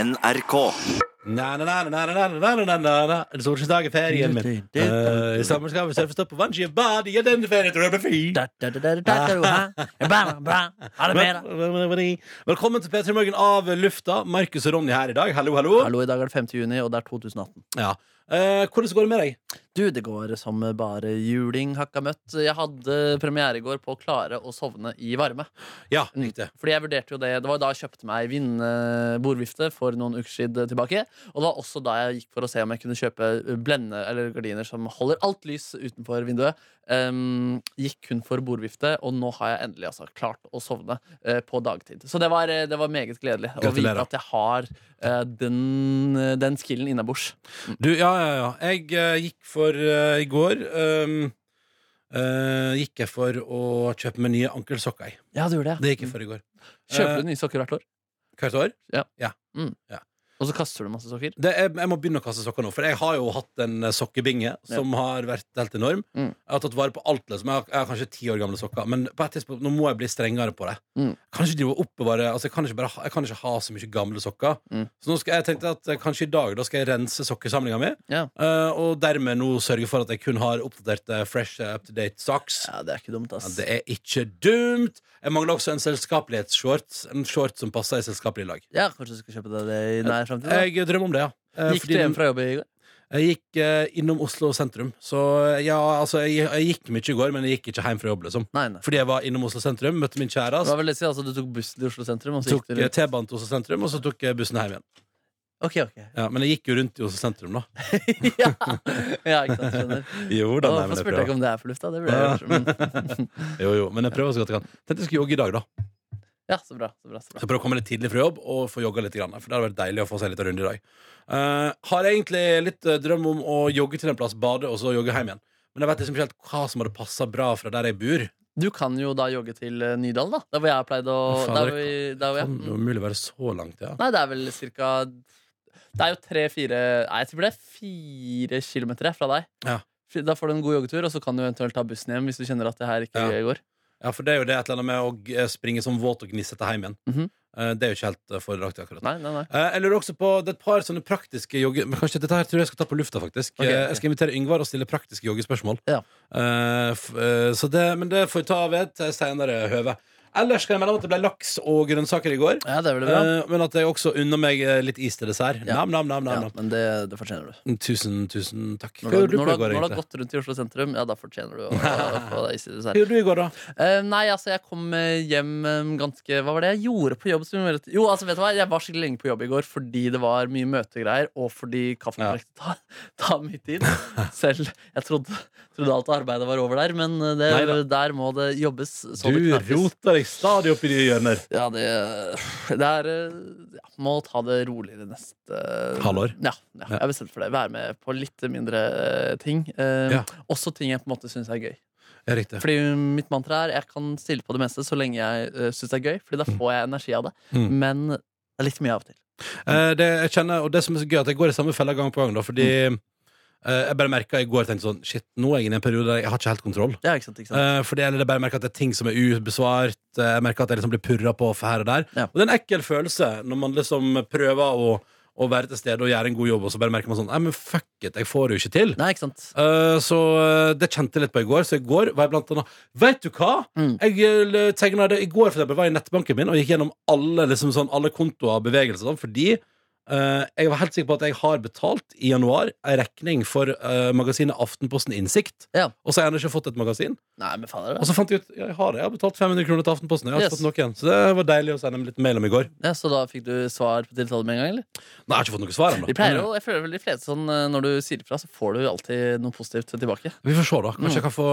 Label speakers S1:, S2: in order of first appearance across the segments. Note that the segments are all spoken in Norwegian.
S1: NRK.
S2: Solskinnsdag er ferien min. Eh, I sommer skal vi surfe, stå på vannskia, bade i denne ferien. Tror jeg blir fin. Velkommen til P3 Morgen av lufta. Markus og Ronny her i dag. Hallo, hallo.
S3: Hallo, i dag er det 5. juni, og det er 2018.
S2: Ja. Eh, hvordan går det med deg?
S3: Du, det går som bare juling hakka møtt. Jeg hadde premiere i går på å klare å sovne i varme.
S2: Ja, riktig.
S3: Fordi jeg vurderte jo det Det var jo da jeg kjøpte meg vindbordvifte for noen uker siden tilbake. Og det var også da jeg gikk for å se om jeg kunne kjøpe blende eller gardiner som holder alt lys utenfor vinduet. Ehm, gikk kun for bordvifte, og nå har jeg endelig altså klart å sovne eh, på dagtid. Så det var, eh, det var meget gledelig å vite
S2: Gratulerer.
S3: at jeg har eh, den, den skillen innabords.
S2: Du, ja, ja, ja. Jeg eh, gikk for eh, i går ehm, eh, Gikk jeg for å kjøpe meg nye ankelsokker. jeg.
S3: Ja, du gjorde
S2: Det gikk jeg for i Eh, går.
S3: Kjøper du nye sokker hvert år?
S2: Hvert år?
S3: Og så kaster du masse sokker?
S2: Det, jeg, jeg må begynne å kaste sokker nå, for jeg har jo hatt en eh, sokkebinge som har vært helt enorm.
S3: Mm.
S2: Jeg har tatt vare på alt. Liksom. Jeg, har, jeg har kanskje ti år gamle sokker, men på et tidspunkt, nå må jeg bli strengere på det.
S3: Mm.
S2: Kan ikke drive og oppbevare altså, jeg, kan ikke bare, ha- jeg kan ikke ha så mye gamle sokker.
S3: Mm.
S2: Så nå skal jeg tenkte at eh, kanskje i dag da skal jeg rense sokkesamlinga mi,
S3: Ja.
S2: eh, og dermed nå sørge for at jeg kun har oppdaterte, fresh, eh, up-to-date socks.
S3: Ja, det er ikke dumt,
S2: Ja,
S3: ass.
S2: det er ikke dumt. Jeg mangler også en selskapelighetsshorts. En short som passer i selskapelig lag.
S3: Ja, kanskje du skal kjøpe deg det i nær fremtid? da?
S2: Jeg drømmer om det, ja. Eh,
S3: Gikk
S2: fordi
S3: du
S2: den-
S3: hjem fra jobb i går?
S2: Jeg gikk eh, innom Oslo sentrum. Så ja, altså, jeg, jeg gikk mye i går, men jeg gikk ikke hjem fra jobb, liksom.
S3: Nei, nei.
S2: Fordi jeg var innom Oslo sentrum, møtte min kjære,
S3: Det var vel det å si, altså, du tok bussen til Oslo sentrum, og så
S2: tok
S3: gikk du
S2: eh,
S3: rundt?
S2: T-banen til Oslo sentrum, og så tok jeg bussen hjem igjen.
S3: Ok, ok.
S2: Ja, men jeg gikk jo rundt i Oslo sentrum, da.
S3: ja. ja, ikke sant, skjønner.
S2: Jo
S3: Å, Hvorfor spurte jeg ikke om det er på lufta? Det burde jeg gjort. Mm.
S2: Jo, jo, men jeg prøver så godt jeg kan. Tenkte jeg skulle jogge i dag, da.
S3: Ja, så bra. Så bra, så bra.
S2: Så prøve å komme litt tidlig fra jobb og få jogga litt, grann, for det hadde vært deilig å få seg litt runde i dag. Eh, har jeg egentlig litt eh, drøm om å jogge til en plass, bade, og så jogge hjem igjen. Men jeg vet liksom ikke helt hva som hadde passa bra fra der jeg bor.
S3: Du kan jo da jogge til eh, Nydalen, da. Der hvor jeg har pleid å
S2: Faen,
S3: der
S2: dere-
S3: hvor, der hvor
S2: Det
S3: jeg,
S2: kan
S3: mm.
S2: jo umulig være så langt, ja.
S3: Nei, det er vel cirka Det er jo tre-fire Nei, jeg tipper det er fire kilometer jeg, fra deg.
S2: Ja.
S3: Fy- Da får du en god joggetur, og så kan du eventuelt ta bussen hjem hvis du kjenner at det her ikke
S2: Ja.
S3: går.
S2: Ja, for det er jo det et eller annet med å g- eh, springe som våt og gnissete hjem igjen.
S3: Mhm.
S2: Eh, Det er jo ikke helt eh, fordelaktig akkurat.
S3: Nei, nei, nei.
S2: Eh, Jeg lurer også på Det er et par sånne praktiske jogge... Men kanskje dette her tror jeg skal ta på lufta, faktisk.
S3: Ok,
S2: Eh,
S3: ok.
S2: Jeg skal invitere Yngvar og stille praktiske joggespørsmål.
S3: Ja.
S2: Eh, f- eh, så det, men det får vi ta ved til senere høve. Ellers skal jeg melde om at det ble laks og grønnsaker i går.
S3: Ja, det blir bra.
S2: Eh, Men at jeg også unner meg eh, litt is til dessert.
S3: Ja.
S2: Nam, nam, nam, nam,
S3: Ja,
S2: nam.
S3: men det, det fortjener du.
S2: Tusen, tusen takk. Hva
S3: Når du,
S2: gjorde du
S3: når,
S2: på i
S3: du,
S2: går,
S3: når du har
S2: egentlig?
S3: gått rundt i Oslo sentrum, ja, da fortjener du å, å få deg is i
S2: Hva
S3: dessert.
S2: gjorde du i går, da?
S3: Eh, nei, altså, jeg kom eh, hjem eh, ganske Hva var det jeg gjorde på jobb? Som, gjorde at- jo, altså, vet du hva? Jeg var skikkelig lenge på jobb i går fordi det var mye møtegreier, og fordi kaffen
S2: Ja.
S3: rekte ta, ta mye tid. Selv jeg trodde, trodde alt arbeidet var over der, men eh, det,
S2: Neida.
S3: der må det jobbes. så det
S2: Du
S3: knarkes.
S2: roter deg stadig opp i de hjørner.
S3: Ja, det, det er eh, ja, Må ta det roligere neste
S2: Halvår?
S3: Ja, ja, jeg har bestemt for det. Være med på litt mindre eh, ting. Eh,
S2: Ja.
S3: Også ting jeg på en måte syns er gøy.
S2: Ja, riktig.
S3: Fordi mitt mantra er jeg kan stille på det meste så lenge jeg uh, syns det er gøy. Fordi da får jeg energi av det.
S2: Mm.
S3: Men det er litt mye av og til.
S2: Eh, det, jeg kjenner, og det som er så gøy, er at jeg går i samme fella gang på gang. Da, fordi
S3: Mm.
S2: eh, jeg bare merka i går tenkte sånn Shit, nå er jeg inne i en periode der jeg har ikke helt kontroll.
S3: Ja, ikke sant, ikke sant?
S2: Eh, fordi, eller jeg bare merker at det er ting som er ubesvart. eh, jeg merker at jeg liksom blir purra på for her og der.
S3: Ja.
S2: Og det er en ekkel følelse når man liksom prøver å, å være til stede og gjøre en god jobb, og så bare merker man sånn Nei, men fuck it, jeg får det jo ikke til.
S3: Nei, ikke sant?
S2: Eh, så eh, det kjente jeg litt på i går. Så i går var jeg blant annet Vet du hva?
S3: Mm.
S2: Jeg eh, tegnet det i går for eksempel, var jeg i nettbanken min og gikk gjennom alle, liksom, sånn, alle kontoer og bevegelser. Sånn, fordi eh, jeg var helt sikker på at jeg har betalt i januar en regning for eh, magasinet Aftenposten Innsikt.
S3: Ja.
S2: Og så har jeg ennå ikke fått et magasin.
S3: Nei, men faen er
S2: Og
S3: det
S2: så fant jeg ut ja, jeg har det. Jeg har betalt 500 kroner til Aftenposten. Jeg har ikke
S3: Yes.
S2: fått noe igjen. Så det var deilig å sende dem litt mail om i går.
S3: ja, Så da fikk du svar på tiltale med en gang, eller?
S2: Nei, jeg har ikke fått noe svar ennå.
S3: De pleier jo, jeg føler vel de fleste sånn eh, Når du sier ifra, så får du alltid noe positivt tilbake.
S2: Vi får se, da. Kanskje jeg kan få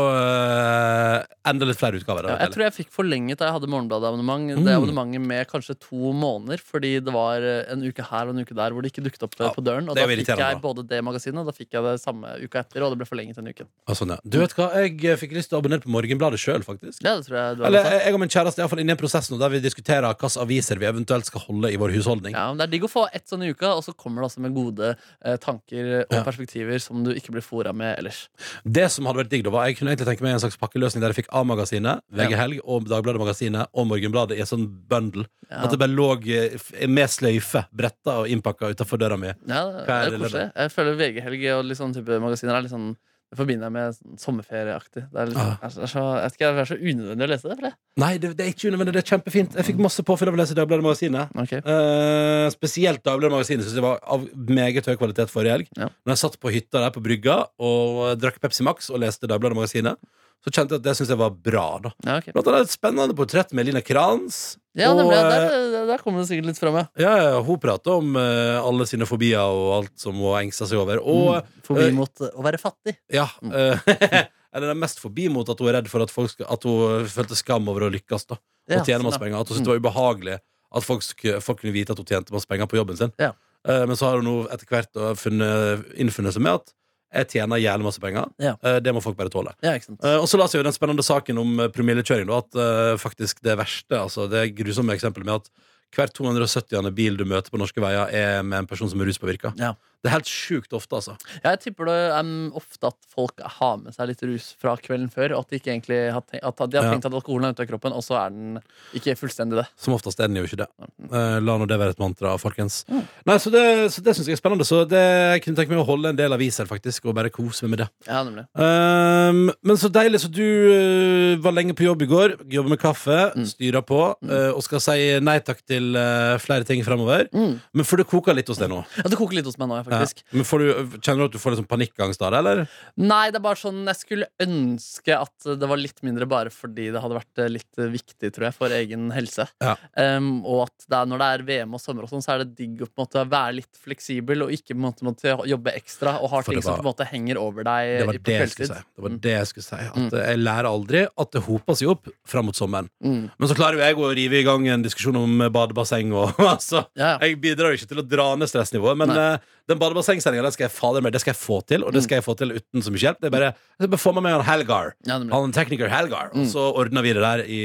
S2: eh, enda litt flere utgaver. Det
S3: Mm. Ja,
S2: var
S3: jeg
S2: deilig.
S3: tror jeg fikk forlenget da jeg hadde Morgenbladet-abonnement. Det
S2: Mm.
S3: abonnementet med kanskje to måneder, fordi det var eh, en uke her og en uke der hvor det ikke dukket opp eh,
S2: Ja,
S3: på døren. Og
S2: det
S3: da
S2: er jo
S3: fikk jeg
S2: irriterende,
S3: både det magasinet, og da fikk jeg det samme uka etter, og det ble forlenget den uken.
S2: Ah, sånn, ja. Du vet hva, jeg eh, fikk lyst til å abonnere på Morgenbladet sjøl, faktisk.
S3: Ja, det tror jeg du har
S2: Eller eh,
S3: rett i.
S2: jeg jeg og min kjæreste er i hvert fall inne i en prosess nå der vi diskuterer hvilke aviser vi eventuelt skal holde i vår husholdning.
S3: Ja, men Det er digg å få ett sånn i uka, og så kommer det også med gode eh, tanker og
S2: Ja.
S3: perspektiver som du ikke blir fora med ellers.
S2: Det som hadde vært digg da var Jeg kunne egentlig tenke meg en slags pakkeløsning der jeg fikk A-magasinet, VG Helg og Dagbladet Magasinet og Morgenbladet i en sånn bundle.
S3: Ja.
S2: At det bare lå eh, f- med sløyfe bretta og innpakka utafor døra mi.
S3: Ja, det
S2: Hva er
S3: er
S2: det,
S3: koselig. Jeg føler VG-helg og litt sånn type magasiner er litt sånn det forbinder jeg med sånn sommerferieaktig. Det er, litt,
S2: Ah.
S3: er så, er så, jeg vet ikke, det er så unødvendig å lese det. For det.
S2: Nei, det, det er ikke unødvendig. Det er kjempefint. Jeg
S3: Mm.
S2: fikk masse påfyll av å lese Dagbladet Magasinet.
S3: Ok.
S2: Eh, spesielt Dagbladet Magasinet syns jeg var av meget høy kvalitet forrige helg.
S3: Ja.
S2: Når jeg satt på hytta der på brygga og eh, drakk Pepsi Max og leste Dagbladet Magasinet, så kjente jeg at det syns jeg var bra, da.
S3: Ja, ok.
S2: Blant annet et spennende portrett med Eline Kranz.
S3: ja
S2: og,
S3: det ble,
S2: eh,
S3: der, der, der kom det sikkert litt fram, ja.
S2: ja, ja, hun prater om eh, alle sine fobier og alt som hun engster seg over. Og
S3: Mm. Forbi
S2: eh,
S3: mot eh, å være fattig.
S2: Ja. eh, eller det er mest forbi mot at hun er redd for at, folk skal, at hun følte skam over å lykkes. da
S3: Ja,
S2: Og tjene masse
S3: sånn,
S2: penger. At hun syntes det var ubehagelig at folk, sk- folk kunne vite at hun tjente masse penger på jobben sin.
S3: Ja.
S2: Eh, men så har hun nå etter hvert eh, funnet, innfunnet seg med at jeg tjener jævlig masse penger.
S3: Ja.
S2: Eh, det må folk bare tåle.
S3: ja. Ja, ikke sant.
S2: Eh, og så la seg jo den spennende saken om eh, promillekjøring. Da, at eh, faktisk det verste, altså det grusomme eksempelet med at hver 270. bil du møter på norske veier, er med en person som er ruspåvirka.
S3: Ja.
S2: Det er helt sjukt ofte, altså.
S3: Jeg tipper det em, ofte at folk har med seg litt rus fra kvelden før. Og at de ikke egentlig har tenkt at, de har
S2: Ja.
S3: tenkt at alkoholen er ute av kroppen, og så er den ikke fullstendig det.
S2: Som oftest er den jo ikke det. Eh, la nå det være et mantra, folkens. Nei, Så det, så det syns jeg er spennende. Så det jeg kunne tenke meg å holde en del aviser faktisk og bare kose meg med det.
S3: Ja, nemlig.
S2: Ehm, men så deilig. Så du eh, var lenge på jobb i går. Jobber med kaffe,
S3: Mm.
S2: styrer på eh, og skal si nei takk til eh, flere ting framover.
S3: Mm.
S2: Men får det koker litt hos deg nå?
S3: Ja, det koker litt hos meg nå, ja,
S2: Ja.
S3: faktisk. Eh,
S2: Men får du, Kjenner du at du får litt sånn panikkangst av det, eller?
S3: Nei, det er bare sånn Jeg skulle ønske at det var litt mindre bare fordi det hadde vært eh, litt viktig, tror jeg, for egen helse.
S2: Ja.
S3: Em, og at det er, når det er VM og sommer og sånn, så er det digg å på en måte være litt fleksibel og ikke på en måte måtte jobbe ekstra og har
S2: For
S3: ting
S2: det
S3: som på en måte henger over deg
S2: Det var
S3: på
S2: det jeg skulle
S3: kveldstid. Mm.
S2: si. Det var det jeg, skulle si. At eh, jeg lærer aldri at det hoper seg opp fram mot sommeren.
S3: Mm.
S2: Men så klarer jo jeg å rive i gang en diskusjon om eh, badebasseng og altså.
S3: Ja, ja.
S2: Jeg bidrar jo ikke til å dra ned stressnivået, men
S3: Nei. Mm.
S2: eh, den badebassengstillingen, den skal jeg fader meg, det skal jeg få til, og det skal jeg få til uten så mye hjelp. Det er bare, jeg skal bare få med meg han Helgar,
S3: ja, nemlig. Mm.
S2: han tekniker Helgar, og så ordner vi det der i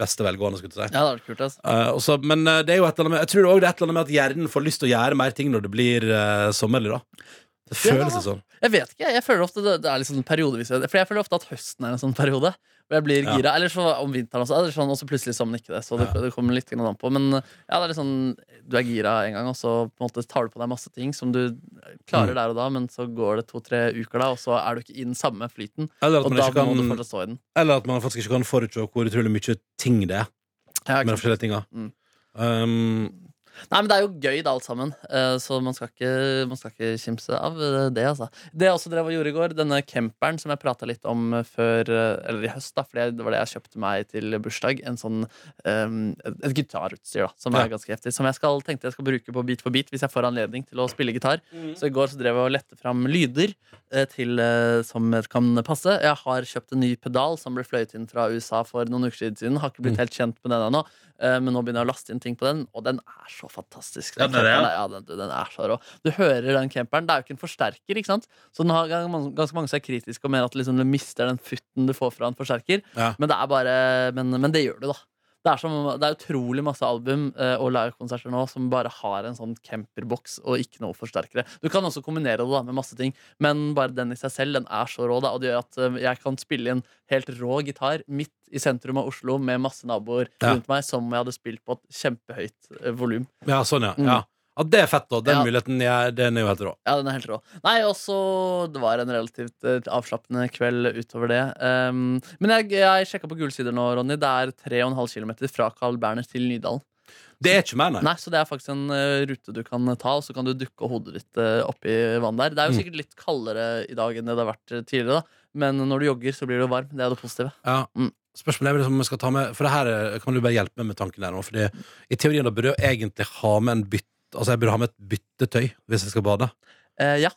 S2: beste velgående, skulle jeg til å si.
S3: ja, det hadde vært kult. Altså.
S2: Eh, og så- men eh, det er jo et eller annet med, jeg tror også det er et eller annet med at hjernen får lyst til å gjøre mer ting når det blir uh, sommerlig, da. Det føles
S3: Ja.
S2: jo sånn.
S3: Jeg vet ikke, jeg føler ofte det, det er litt sånn periodevis For jeg føler ofte at høsten er en sånn periode Hvor jeg blir
S2: Ja.
S3: gira, eller så om vinteren også eller sånn, Og så plutselig så er man ikke det, så det,
S2: Ja.
S3: det kommer litt grann an på Men ja, det er litt sånn, du er gira en gang Og så på en måte tar du på deg masse ting som du klarer
S2: Mm.
S3: der og da Men så går det to-tre uker da, og så er du ikke i den samme flyten
S2: Eller at,
S3: Og
S2: man
S3: da
S2: ikke
S3: må du
S2: kan,
S3: fortsatt stå i den
S2: eller at man faktisk ikke kan forutse hvor utrolig mye ting det er med de
S3: Ja, ikke sant?
S2: forskjellige tinga.
S3: Mm.
S2: Um,
S3: Nei, men det er jo gøy da, alt sammen. Eh, Så man skal ikke, man skal ikke kimse av eh, det, altså. Det jeg også drev og gjorde i går, denne camperen som jeg prata litt om eh, før eh, Eller i høst, da, for det var det jeg kjøpte meg til bursdag. En sånn eh, et- Et gitarutstyr, da, som
S2: Ja.
S3: er ganske heftig. Som jeg skal, tenkte jeg skal bruke på Beat for beat hvis jeg får anledning til å spille gitar.
S2: Mhm.
S3: Så i går så drev jeg og lette fram lyder eh, til, eh, som kan passe. Jeg har kjøpt en ny pedal som ble fløyet inn fra USA for noen uker siden. Har
S2: Mhm.
S3: ikke blitt helt kjent med den ennå, eh, men nå begynner jeg å laste inn ting på den, og den er så fantastisk.
S2: Ja,
S3: Den,
S2: den er det, ja.
S3: camperen der, ja, den, den er så rå. Du hører den camperen. Det er jo ikke en forsterker, ikke sant? så den har gan- ganske mange som er kritiske og mener at liksom, du mister den futten du får fra en forsterker,
S2: Ja.
S3: men, det er bare, men, men det gjør du, da. Det er, som, det er utrolig masse album eh, og livekonserter nå som bare har en sånn camperboks og ikke noe forsterkere. Du kan også kombinere det da med masse ting, men bare den i seg selv den er så rå. da Og det gjør at eh, jeg kan spille inn helt rå gitar midt i sentrum av Oslo med masse naboer
S2: Ja.
S3: rundt meg som om jeg hadde spilt på et kjempehøyt eh, volum.
S2: Ja, sånn, ja.
S3: Mm.
S2: ja. ja det er fett, da. Den
S3: Ja.
S2: muligheten er, den er jo helt rå.
S3: Ja, den er helt rå. Nei, også Det var en relativt eh, avslappende kveld utover det. Um, men jeg, jeg sjekka på gulsider nå, Ronny. Det er 3,5 km fra Carl Berner til Nydalen.
S2: Det er ikke mer, nei.
S3: Nei, Så det er faktisk en eh, rute du kan ta, og så kan du dukke hodet ditt eh, oppi vannet der. Det er
S2: Mm.
S3: jo sikkert litt kaldere i dag enn det det har vært eh, tidligere, da. Men når du jogger, så blir du varm. Det er det positive.
S2: Ja.
S3: Mm.
S2: Spørsmålet er vel om jeg skal ta med For det her eh, kan du bare hjelpe meg med tanken der nå. Fordi i teorien da burde jeg jo egentlig ha med en bytt Altså jeg burde ha med et byttetøy hvis jeg skal bade.
S3: Eh, ja,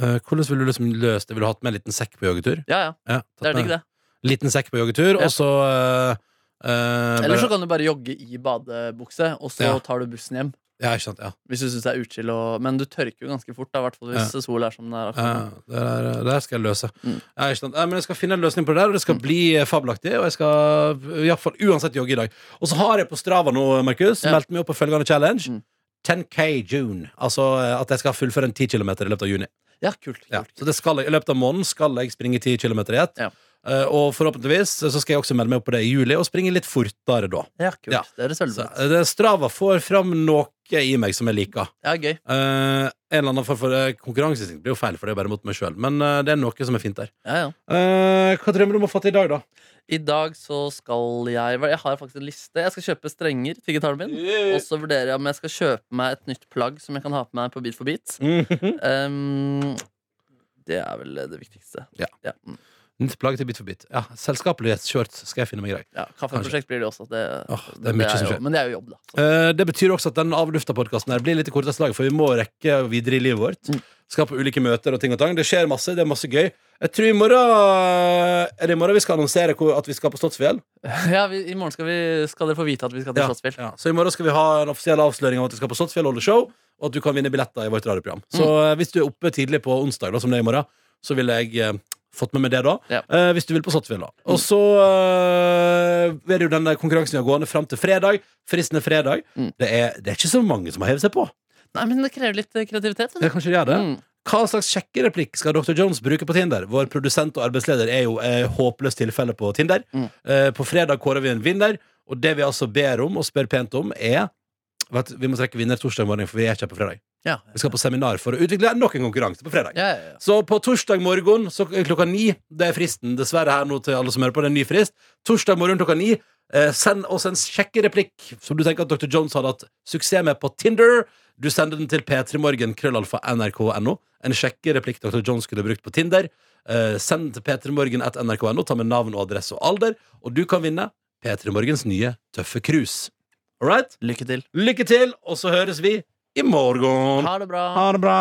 S2: Eh, hvordan ville du liksom løst det? Ville du hatt med en liten sekk på joggetur?
S3: ja, ja.
S2: Ja, tatt
S3: Det er
S2: med
S3: digg, det.
S2: en Liten sekk på joggetur,
S3: Ja.
S2: og så eh, eh,
S3: Eller så
S2: bare-
S3: kan du bare jogge i badebukse, og så
S2: Ja.
S3: tar du bussen hjem.
S2: Ja, ikke sant. Ja.
S3: Hvis du syns det er utskill og Men du tørker jo ganske fort, da, i hvert fall hvis sola er som den er akkurat
S2: Ja,
S3: nå.
S2: det, der, det der skal jeg løse.
S3: Mm.
S2: Ja, ikke sant? Ja, men jeg skal finne en løsning på det der, og det skal bli eh, fabelaktig. Og jeg skal eh, i hvert fall uansett jogge i dag. Og så har jeg på Strava nå, Markus,
S3: Ja.
S2: meldt meg opp på følgende challenge.
S3: Mm.
S2: 10K June. Altså eh, at jeg skal fullføre en 10 km i løpet av juni.
S3: Ja, kult, kult.
S2: Ja. Så det skal jeg, I løpet av måneden skal jeg springe 10 km i ett.
S3: Ja.
S2: Eh, og forhåpentligvis så skal jeg også melde meg opp på det i juli, og springe litt fortere da.
S3: Ja, kult.
S2: Ja.
S3: Det høres veldig
S2: Så,
S3: bra ut.
S2: eh, det- Strava får fram noe i meg som jeg liker.
S3: Ja,
S2: Eh,
S3: gøy.
S2: en eller annen form for eh, konkurranseinstinkt blir jo feil, for det er bare mot meg sjøl. Men eh, det er noe som er fint der.
S3: Ja, ja.
S2: Eh, hva drømmer du om å få til i dag, da?
S3: I dag så skal jeg Jeg har faktisk en liste. Jeg skal kjøpe strenger til gitaren min. Og så vurderer jeg om jeg skal kjøpe meg et nytt plagg som jeg kan ha på meg på Beat for beat.
S2: Mhm.
S3: Ehm, det er vel det viktigste.
S2: Ja.
S3: mm.
S2: Nytt plagg til Bit for bit. Ja, Selskapelighetsshorts skal jeg finne meg grei.
S3: ja Kaffeprosjekt blir det også. Det,
S2: Åh, det er mye som
S3: jo,
S2: skjer.
S3: men det er jo jobb, da. Så.
S2: Eh, det betyr også at den avlufta podkasten her blir litt i korteste slag, for vi må rekke videre i livet vårt.
S3: Mm.
S2: Skal på ulike møter og ting og tang. Det skjer masse. Det er masse gøy. Jeg tror i morgen Er det i morgen vi skal annonsere hvor, at vi skal på Slottsfjell?
S3: Ja, vi, I morgen skal, vi, skal dere få vite at vi skal til
S2: Ja,
S3: Slottsfjell.
S2: Ja. Så i morgen skal vi ha en offisiell avsløring av at vi skal på Slottsfjell og holde show, og at du kan vinne billetter i vårt radioprogram. Så eh, hvis du er oppe tidlig på onsdag, da, som det er i morgen, så ville jeg eh, fått med meg det da.
S3: Ja.
S2: Eh, hvis du vil på Slottsfjell, da. Og så eh, er det jo den der konkurransen vi har gående fram til fredag. Fristen er fredag.
S3: Mm.
S2: Det, er, det er ikke så mange som har hevet seg på.
S3: Nei, men det krever litt eh, kreativitet.
S2: Det
S3: vet du.
S2: er kanskje de gjør det.
S3: Mm.
S2: Hva slags sjekkereplikk skal Dr. Jones bruke på Tinder? Vår produsent og arbeidsleder er jo eh, håpløst tilfelle på Tinder.
S3: Mm.
S2: Eh, på fredag kårer vi en vinner, og det vi altså ber om og spør pent om, er Vet, du, vi må trekke vinner torsdag morgen, for vi er ikke her på fredag.
S3: Ja.
S2: Vi skal på seminar for å utvikle nok en konkurranse på fredag.
S3: Ja, ja, ja.
S2: Så på torsdag morgen så klokka ni, det er fristen dessverre her nå til alle som hører på, det er en ny frist. Torsdag morgen klokka ni, eh, send oss en sjekkereplikk som du tenker at Dr. Jones hadde hatt suksess med på Tinder. Du sender den til p3morgen, krøllalfa, nrk.no. En sjekkereplikk Dr. Jones kunne brukt på Tinder. Eh, send til p3morgen at nrk.no, ta med navn og adresse og alder, og du kan vinne P3morgens nye tøffe krus. All right?
S3: Lykke til.
S2: Lykke til, og så høres vi i morgen.
S3: Ha det bra.
S2: Ha det bra.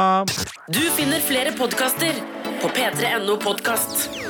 S1: Du finner flere podkaster på p3.no podkast.